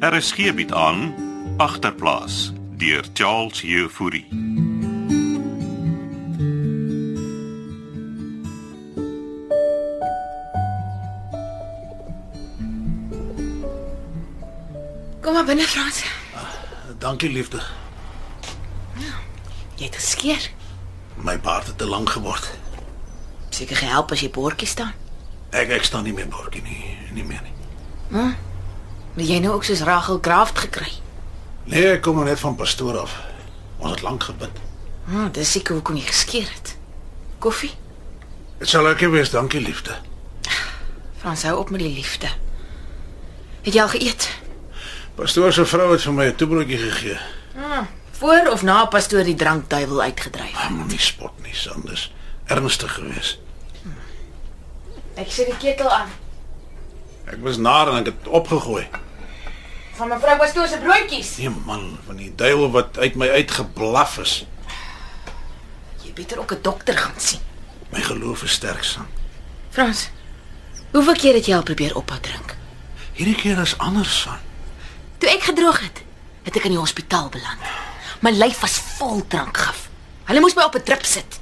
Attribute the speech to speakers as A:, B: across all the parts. A: RSG bied Er aan agterplaas deur Charles Jefouri.
B: Kom maar binne, Frans.
C: Dankie liefde.
B: Jy het geskeer.
C: My baard het te lank geword.
B: Seker gehelp as jy bordjie staan.
C: Ek ek staan nie meer bordjie nie, nie meer nie.
B: Maar jy nou ook soos Rachel Kraft gekry.
C: Nee, ek kom maar net van pastoor af. Ons het lank gebid.
B: Hm, dis seker hoekom jy geskeer het. Koffie?
C: Dit sal ek wees, dankie liefde.
B: Frans hou op met die liefde. Het jy al geëet?
C: Pastoor se vrou het vir my 'n toebroodjie gegee.
B: Voor of na pastoor die drankduiwel uitgedryf?
C: Ah, Moenie spot nie, Sanders. Ernstig geweest.
B: Ek sit die ketel aan
C: Ek was nar en ek het opgegooi.
B: van mevrou pastoor se broodjies.
C: Nee man, van die duiwel wat uit my uitgeblaf is.
B: Jy beter ook 'n dokter gaan sien.
C: My geloof is sterk, son.
B: Frans. Hoeveel keer het jy al probeer ophou drink?
C: Hierdie keer is anders, son.
B: Toe ek gedroog het, het ek in die hospitaal beland. My lyf was vol drankgif. Hulle moes my op 'n drip sit.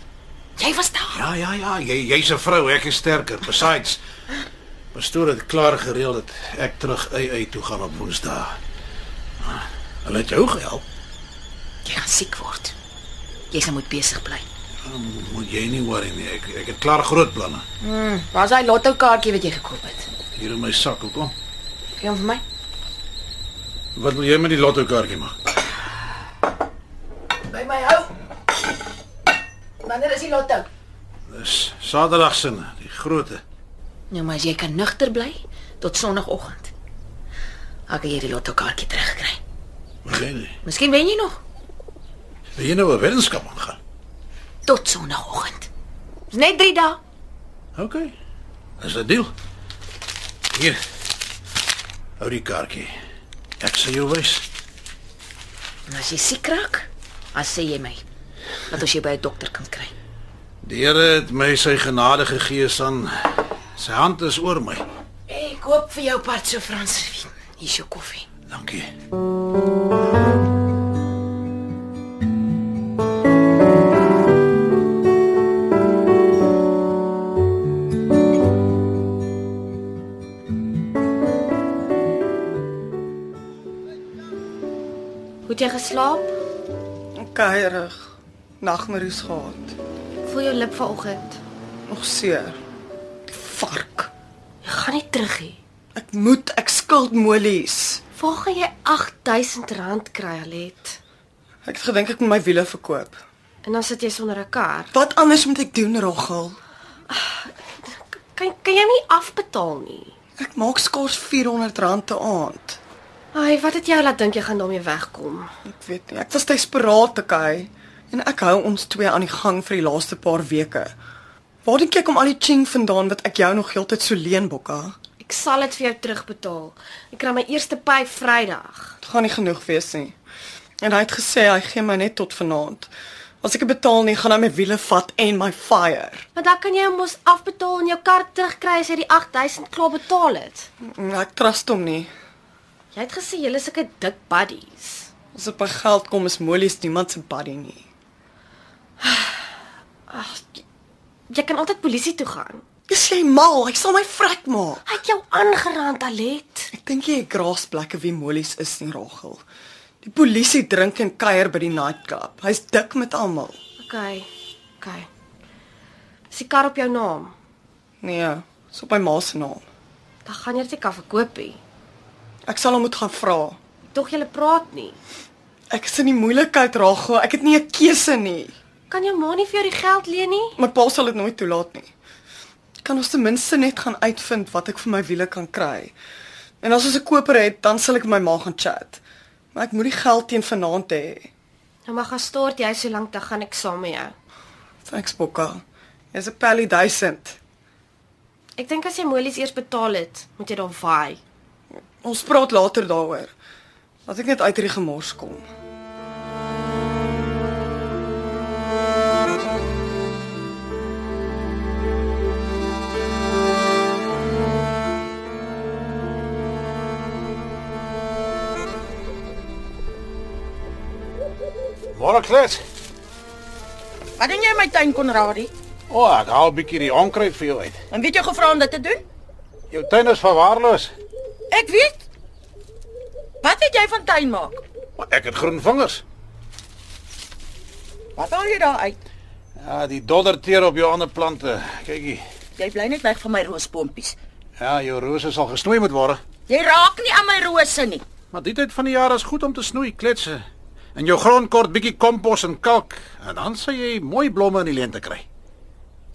B: Jy was daar.
C: Ja, ja, ja, jy jy's 'n vrou, ek is sterker. Besides, pastoor het klaar gereël dat ek terug uit uit toe gaan op Woensdae. Ah, Hulle het jou gehelp.
B: Jy gaan siek word. Jy sal moet besig bly.
C: Ah, Moet jy nie worry nie. Ek ek het klaar groot planne.
B: Waar's daai lotto kaartjie wat jy gekoop het?
C: Hier in my sak, hoekom?
B: Gee hom vir my.
C: Wat wil jy met die lotto kaartjie maak?
B: By my hou. Wanneer is die lotto?
C: Dis Saterdag sinne, die grootte.
B: Nou maar as jy kan nugter bly tot sonoggend. Ek het hierdie lotto kaartjie teruggekry.
C: Wat jy nie.
B: Miskien wen jy nog
C: Wil jy nou 'n weddenskap aangaan?
B: tot sonoggend. Dis net 3 dae.
C: OK. Is dit deal? Hier. Hou die kaartjie. Ek sal jou wys.
B: En as jy siek raak, dan sê jy my dat ons jou by 'n dokter kan kry.
C: Die Here het my sy genade gegee, son. Sy hand is oor my.
B: Ek koop vir jou part so Frans. Hier is jou koffie.
C: Dankie.
B: Hoe het jy geslaap?
D: Kuierig. Nagmerries gehad.
B: Voel jou lip vanoggend?
D: Nog seer. Die vark.
B: Jy gaan nie terug nie.
D: Ek moet, ek skuld molies.
B: Waar gaan jy R8000 kry, Alet?
D: Ek het gedink ek moet my wiele verkoop.
B: En dan sit jy sonder 'n kar.
D: Wat anders moet ek doen, Rogel?
E: Kan kan jy nie afbetaal nie?
D: Ek maak skaars R400 'n aand.
E: Ai, wat het jou laat dink jy gaan daarmee wegkom?
D: Ek weet nie. Ek was desperaat te kry en ek hou ons twee aan die gang vir die laaste paar weke. Waar dink jy kom al die ching vandaan wat ek jou nog heeltyd so leen, Bokka?
E: Ek sal dit vir jou terugbetaal. Ek kry my eerste pay Vrydag.
D: Dit gaan nie genoeg wees nie. En hy het gesê hy gee my net tot vanaand. As ek dit betaal nie, gaan hy my wiele vat en my fire.
E: Maar dan kan jy hom mos afbetaal en jou kar terugkry as jy die 8000 klaar betaal het.
D: Mm, Ek trust hom nie.
E: Jy het gesê julle is sulke dik buddies.
D: As op by geld kom is molies niemand se buddy nie.
E: Jy kan altyd polisie toe gaan.
D: Is jy mal? Hy sal my vrek maak.
E: Hy het jou aangeraan, Alet.
D: Ek dink jy graas plekke wie molies is nie, Rachel. Die polisie drink en kuier by die nightclub. Hy's dik met almal.
E: Okay. Okay. Is die kar op jou naam?
D: Nee, dis op my ma se naam.
E: Dan gaan jy dit nie kan verkoopie.
D: Ek sal hom moet gaan vra.
E: Tog julle praat nie.
D: Ek is in die moeilikheid, Rachel. Ek het nie 'n keuse nie.
E: Kan jou ma nie vir jou die geld leen nie?
D: My pa sal dit nooit toelaat nie. Kan ons ten minste net gaan uitvind wat ek vir my wiele kan kry. En as ons 'n koper het, dan sal ek met my ma gaan chat. Maar ek moet die geld teen vanaand hê.
E: Nou maar gaan stort jy so lank dan gaan ek saam met jou.
D: Thanks Bokka. Jy's 'n pally duisend.
E: Ek dink as jy molies eers betaal het, moet jy dan vaai.
D: Ons praat later daaroor. Laat ek net uit hierdie gemors kom.
C: Môre klets.
F: Wat doen jy in my tuin Konradie?
C: O, oh, ek haal 'n bietjie die onkruid vir jou uit.
F: En weet jy gevra om dit te doen?
C: Jou tuin is verwaarloos.
F: Ek weet. Wat weet jy van tuin maak?
C: Maar ek het groen vingers.
F: Wat haal jy daar uit?
C: Ja, die dodderteer op jou ander plante. Kykie.
F: Jy bly net weg van my roosboontjies.
C: Ja, jou rose sal gesnoei moet word.
F: Jy raak nie aan my rose nie.
C: Maar die tyd van die jaar is goed om te snoei, kletse. In jou grond kort bietjie kompos en kalk en dan sal jy mooi blomme in die lente kry.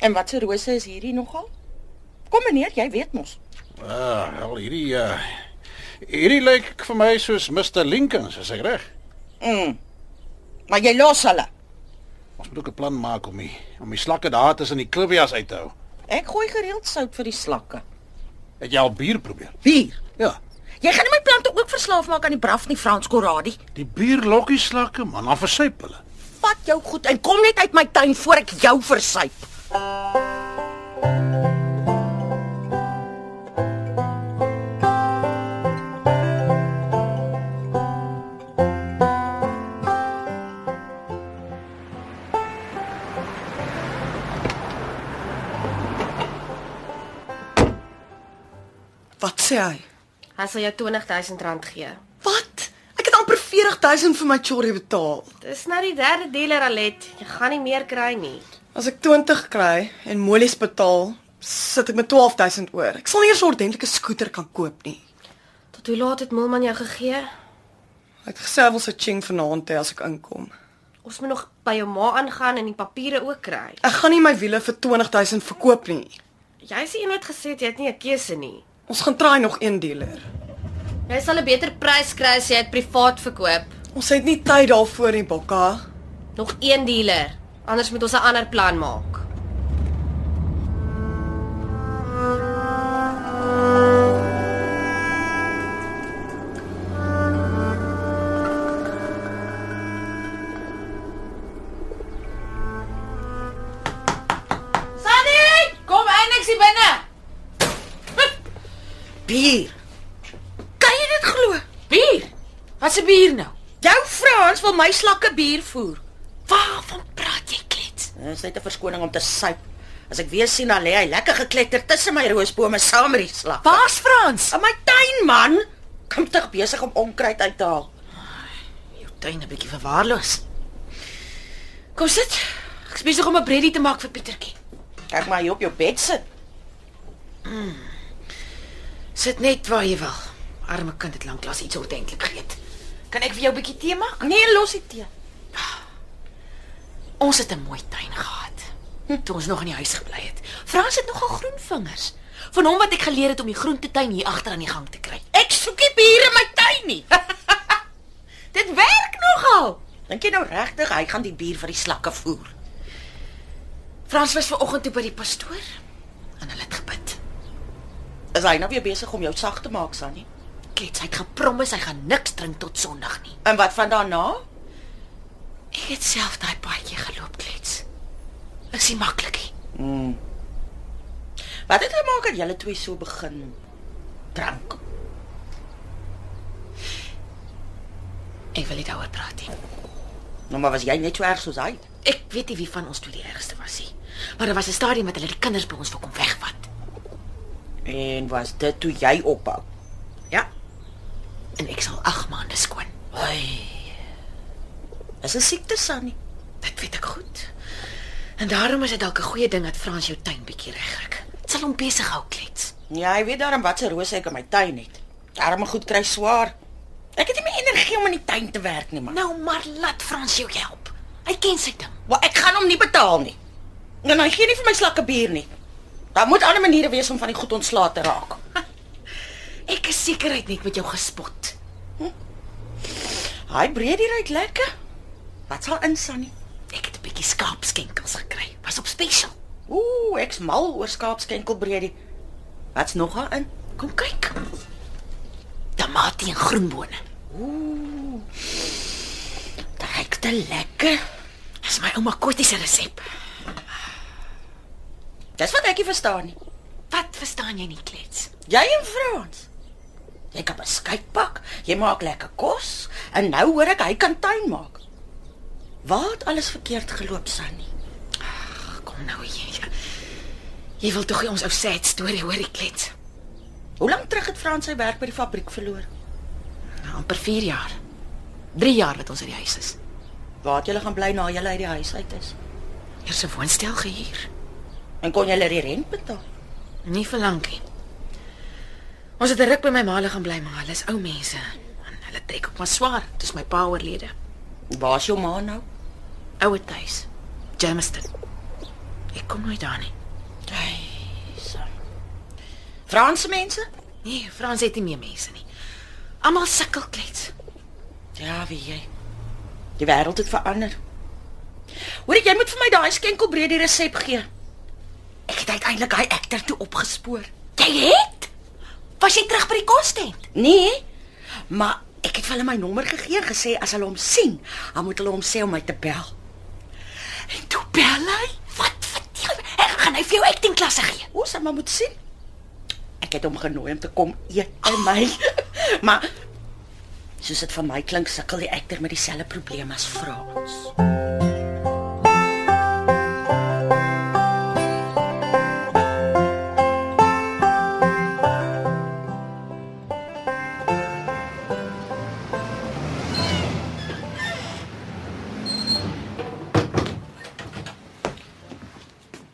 F: En wat se rose is hierdie nogal? Kom meneer, jy weet mos.
C: Ah, wel hierdie uh hierdie lyk vir my soos Mr Lincoln, as ek reg.
F: Mm. Maar jy los hulle.
C: Ons moet ook 'n plan maak om die om die slakke daar tussen die klibbejas uit te hou.
F: Ek gooi gereeld sout vir die slakke.
C: Het jy al bier probeer?
F: Bier.
C: Ja.
F: Jy gaan nie my plante ook verslaaf maak aan die braaf nie, Frans Konradie.
C: Die bier lokkie slakke, man, dan versuip hulle.
F: Vat jou goed en kom net uit my tuin voor ek jou versuip.
D: Wat sê hy?
E: Hy sal jou R20000 gee.
D: Wat? Ek het amper 40000 vir my chorrie betaal.
E: Dis nou die derde dealer Alet. Jy gaan nie meer kry nie.
D: As ek 20 kry en molies betaal, sit ek met 12000 oor. Ek sal nie eers 'n ordentlike skooter kan koop nie.
E: Tot hoe laat het Milman jou gegee?
D: Hy het gesê hy wil sy ching vanaand hê as ek inkom.
E: Ons moet nog by jou ma aangaan en die papiere ook kry.
D: Ek gaan nie my wiele vir 20000 verkoop nie.
E: Jy is die een wat gesê het jy het nie 'n keuse nie.
D: Ons gaan try nog een dealer.
E: Jy sal 'n beter prys kry as jy dit privaat verkoop.
D: Ons het nie tyd daarvoor nie, Bokka.
E: Nog een dealer. Anders moet ons 'n ander plan maak.
F: Sannie, kom in, ek sien binne.
B: Bier.
F: Kan jy dit glo?
B: Bier. Wat se bier nou?
F: Jou Frans wil my slakke bier voer.
B: Waarvan praat jy, klets?
F: Dis net 'n verskoning om te suip. As ek weer sien dan lê hy lekker gekletter tussen my roosbome saam met die slak.
B: Waar's Frans?
F: In my tuin man, kom tog besig om onkruid uit te haal.
B: Jou tuin 'n bietjie verwaarloos. Kom sit. Ek's besig om 'n breadie te maak vir Pietertjie.
F: Kyk maar hier op jou bed sit.
B: Sit net waar jy wil. Arme kind het lanklaas iets ordentlik geëet. Kan ek vir jou 'n bietjie tee maak?
F: Nee, los dit tee.
B: Ons het 'n mooi tuin gehad.
F: Hm.
B: Toe ons nog in die huis gebly het. Frans het nogal groen vingers. Van hom wat ek geleer het om die groentetuin hier agter aan die gang te kry.
F: Ek soek nie bier in my tuin nie. dit werk nogal. Dink jy nou regtig hy gaan die bier vir die slakke voer?
B: Frans was vanoggend toe by die pastoor en hulle het gebid.
F: Is hy nou weer besig om jou sag te maak, Sannie?
B: Klets, hy het gepromis hy gaan niks drink tot Sondag nie.
F: En wat van daarna?
B: Ek het self daai paadjie geloop, Klets. Is nie maklik nie.
F: Wat het gemaak dat julle twee so begin drank?
B: Ek wil nie daaroor praat nie.
F: Nou maar was jy net so erg soos hy?
B: Ek weet nie wie van ons twee die ergste was nie. Maar daar was 'n stadium wat hulle die kinders by ons wou kom wegvat.
F: En was dit toe jy ophou?
B: Ja. En ek sal 8 maande skoon.
F: Ai. Is 'n siekte Sannie.
B: Dit weet ek goed. En daarom is dit dalk 'n goeie ding dat Frans jou tuin bietjie regryk. Dit sal hom besig hou, klets.
F: Ja, jy weet daarom wat se rose ek in my tuin het. Daarom goed kry swaar. Ek het nie meer energie om in die tuin te werk nie, man.
B: Nou maar laat Frans jou help. Hy ken sy ding.
F: Maar ek gaan hom nie betaal nie. En hy gee nie vir my slakke bier nie. Daar moet ander maniere wees om van die goed ontslae te raak.
B: Ek is seker hy het net met jou gespot.
F: Hy breed hier uit lekker. Wat sal in Sannie?
B: Ek het 'n bietjie skaapskenkels gekry. Was op special.
F: Ooh, ek's mal oor skaapskenkelbreedie. Wat's nog daar in?
B: Kom kyk. Tamatie en groenbone.
F: Dit Ruik te lekker.
B: Dis my ouma Kottie se resep.
F: Dis wat ek nie verstaan nie.
B: Wat verstaan jy nie, klets?
F: Jy en Frans. Jy kan beskuit pak, jy maak lekker kos en nou hoor ek hy kan tuin maak. Waar het alles verkeerd geloop, Sunny?
B: Kom nou jy. Jy wil tog nie ons ou sad storie hoor ek klets.
F: Hoe lank terug het Frans sy werk by die fabriek verloor?
B: Nou amper 4 jaar. 3 jaar wat ons uit die huis is.
F: Waar het julle gaan bly na julle uit die huis uit is?
B: Eers 'n woonstel gehuur.
F: En kon julle die rent betaal?
B: Nie vir lank nie. Ons het 'n ruk by my ma hulle gaan bly, maar hulle is ou mense. En hulle trek ook maar swaar. Dit is my pa oorlede.
F: Waar is jou ma nou?
B: Ouer tuis. Jamestown. Ek kom nooit daar nie.
F: Franse mense?
B: Nee, Frans het nie meer mense nie. Almal sukkel klets.
F: Ja, wie jy. Die wêreld het verander. Hoor ek, jy moet vir my daai skenkelbreed die resep gee. Ek het uiteindelik daai ekter toe opgespoor.
B: Jy het? Was jy terug by die kostent?
F: Nee. Maar ek het vir hulle my nommer gegee en gesê as hulle hom sien, dan moet hulle hom sê om my te bel.
B: En toe bel hy. Wat vertel? Ek gaan hy vir jou acting klasse gee.
F: Ons sal maar moet sien. Ek het hom genooi om te kom eet by my. maar soos dit vir my klink, sukkel die ekter met dieselfde probleem as Frans.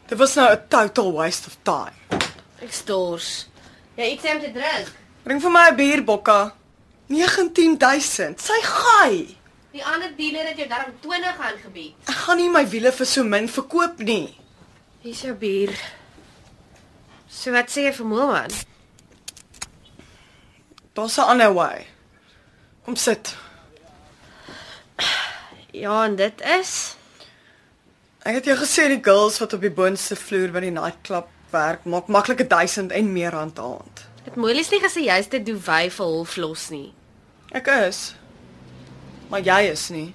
D: Dit was nou 'n total waste of time.
B: Ek stors.
E: Jy Ja, iets om te drink.
D: Bring vir my 'n bier, Bokka. 19000. Sy gaai.
E: Die ander dealer het jou darm 20 aangebied.
D: Ek gaan nie my wiele vir so min verkoop nie.
E: Hier's jou bier. So wat sê jy vir Moelman?
D: Daar's 'n ander way. Kom sit.
E: Ja, en dit is
D: Ek het jou gesê die girls wat op die boonste vloer by die nightclub werk, maak maklik 1000 en meer rand per aand.
E: Het Moelies nie gesê jy's te doewy vir hul flos nie.
D: Ek is. Maar jy is nie.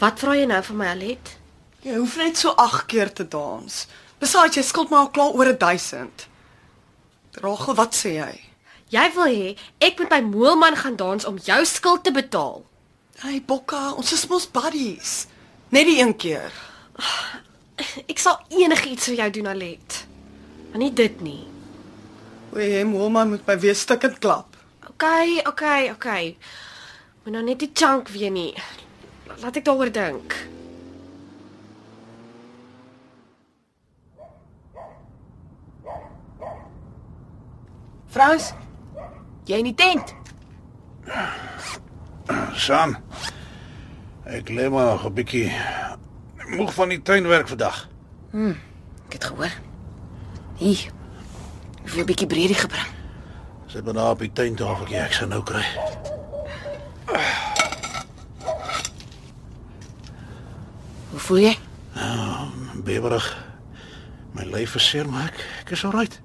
E: Wat vra jy nou van my, Alet?
D: Jy hoef net so 8 keer te dans. Besides, jy skuld my al klaar oor 1000. Rachel, wat sê jy?
E: Jy wil hê ek moet by Moelman gaan dans om jou skuld te betaal.
D: Hey Bokka, ons is mos buddies. Net die een keer.
E: Ek sal enigiets vir jou doen, Alet. Maar nie dit nie.
D: O, jy mamma moet by weer stukkend klap.
E: OK, OK, OK. Moet nou net die chunk weer nie. Laat ek daaroor dink.
B: Frans, jy in die tent.
C: Sam. Ek lê maar nog 'n bietjie moeg van die tuinwerk vandag.
B: Ek het gehoor. Hier. Ek het vir jou 'n bietjie breedie gebring.
C: Sit maar daar op die tuintafeltjie, ek sal nou kry.
B: Hoe voel jy?
C: Bewerig. My lyf verseer maar ek, ek is alright.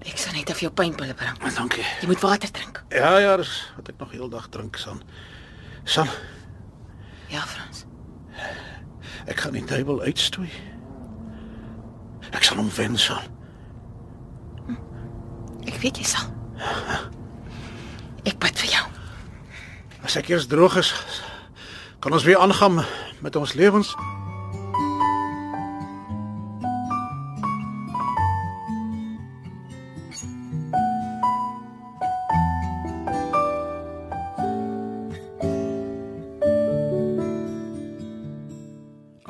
B: Ek sal net af jou pynpille bring.
C: Dankie.
B: Jy moet water drink.
C: Ja, ja, dis wat ek nog heeldag drink, Sam. Sam,
B: Ja, Frans.
C: ek gaan die duiwel uitstoei. Ek sal hom wen, Sam.
B: Ek weet jy sal. Ek bid vir jou.
C: As ek eers droog is, kan ons weer aangaan met ons lewens.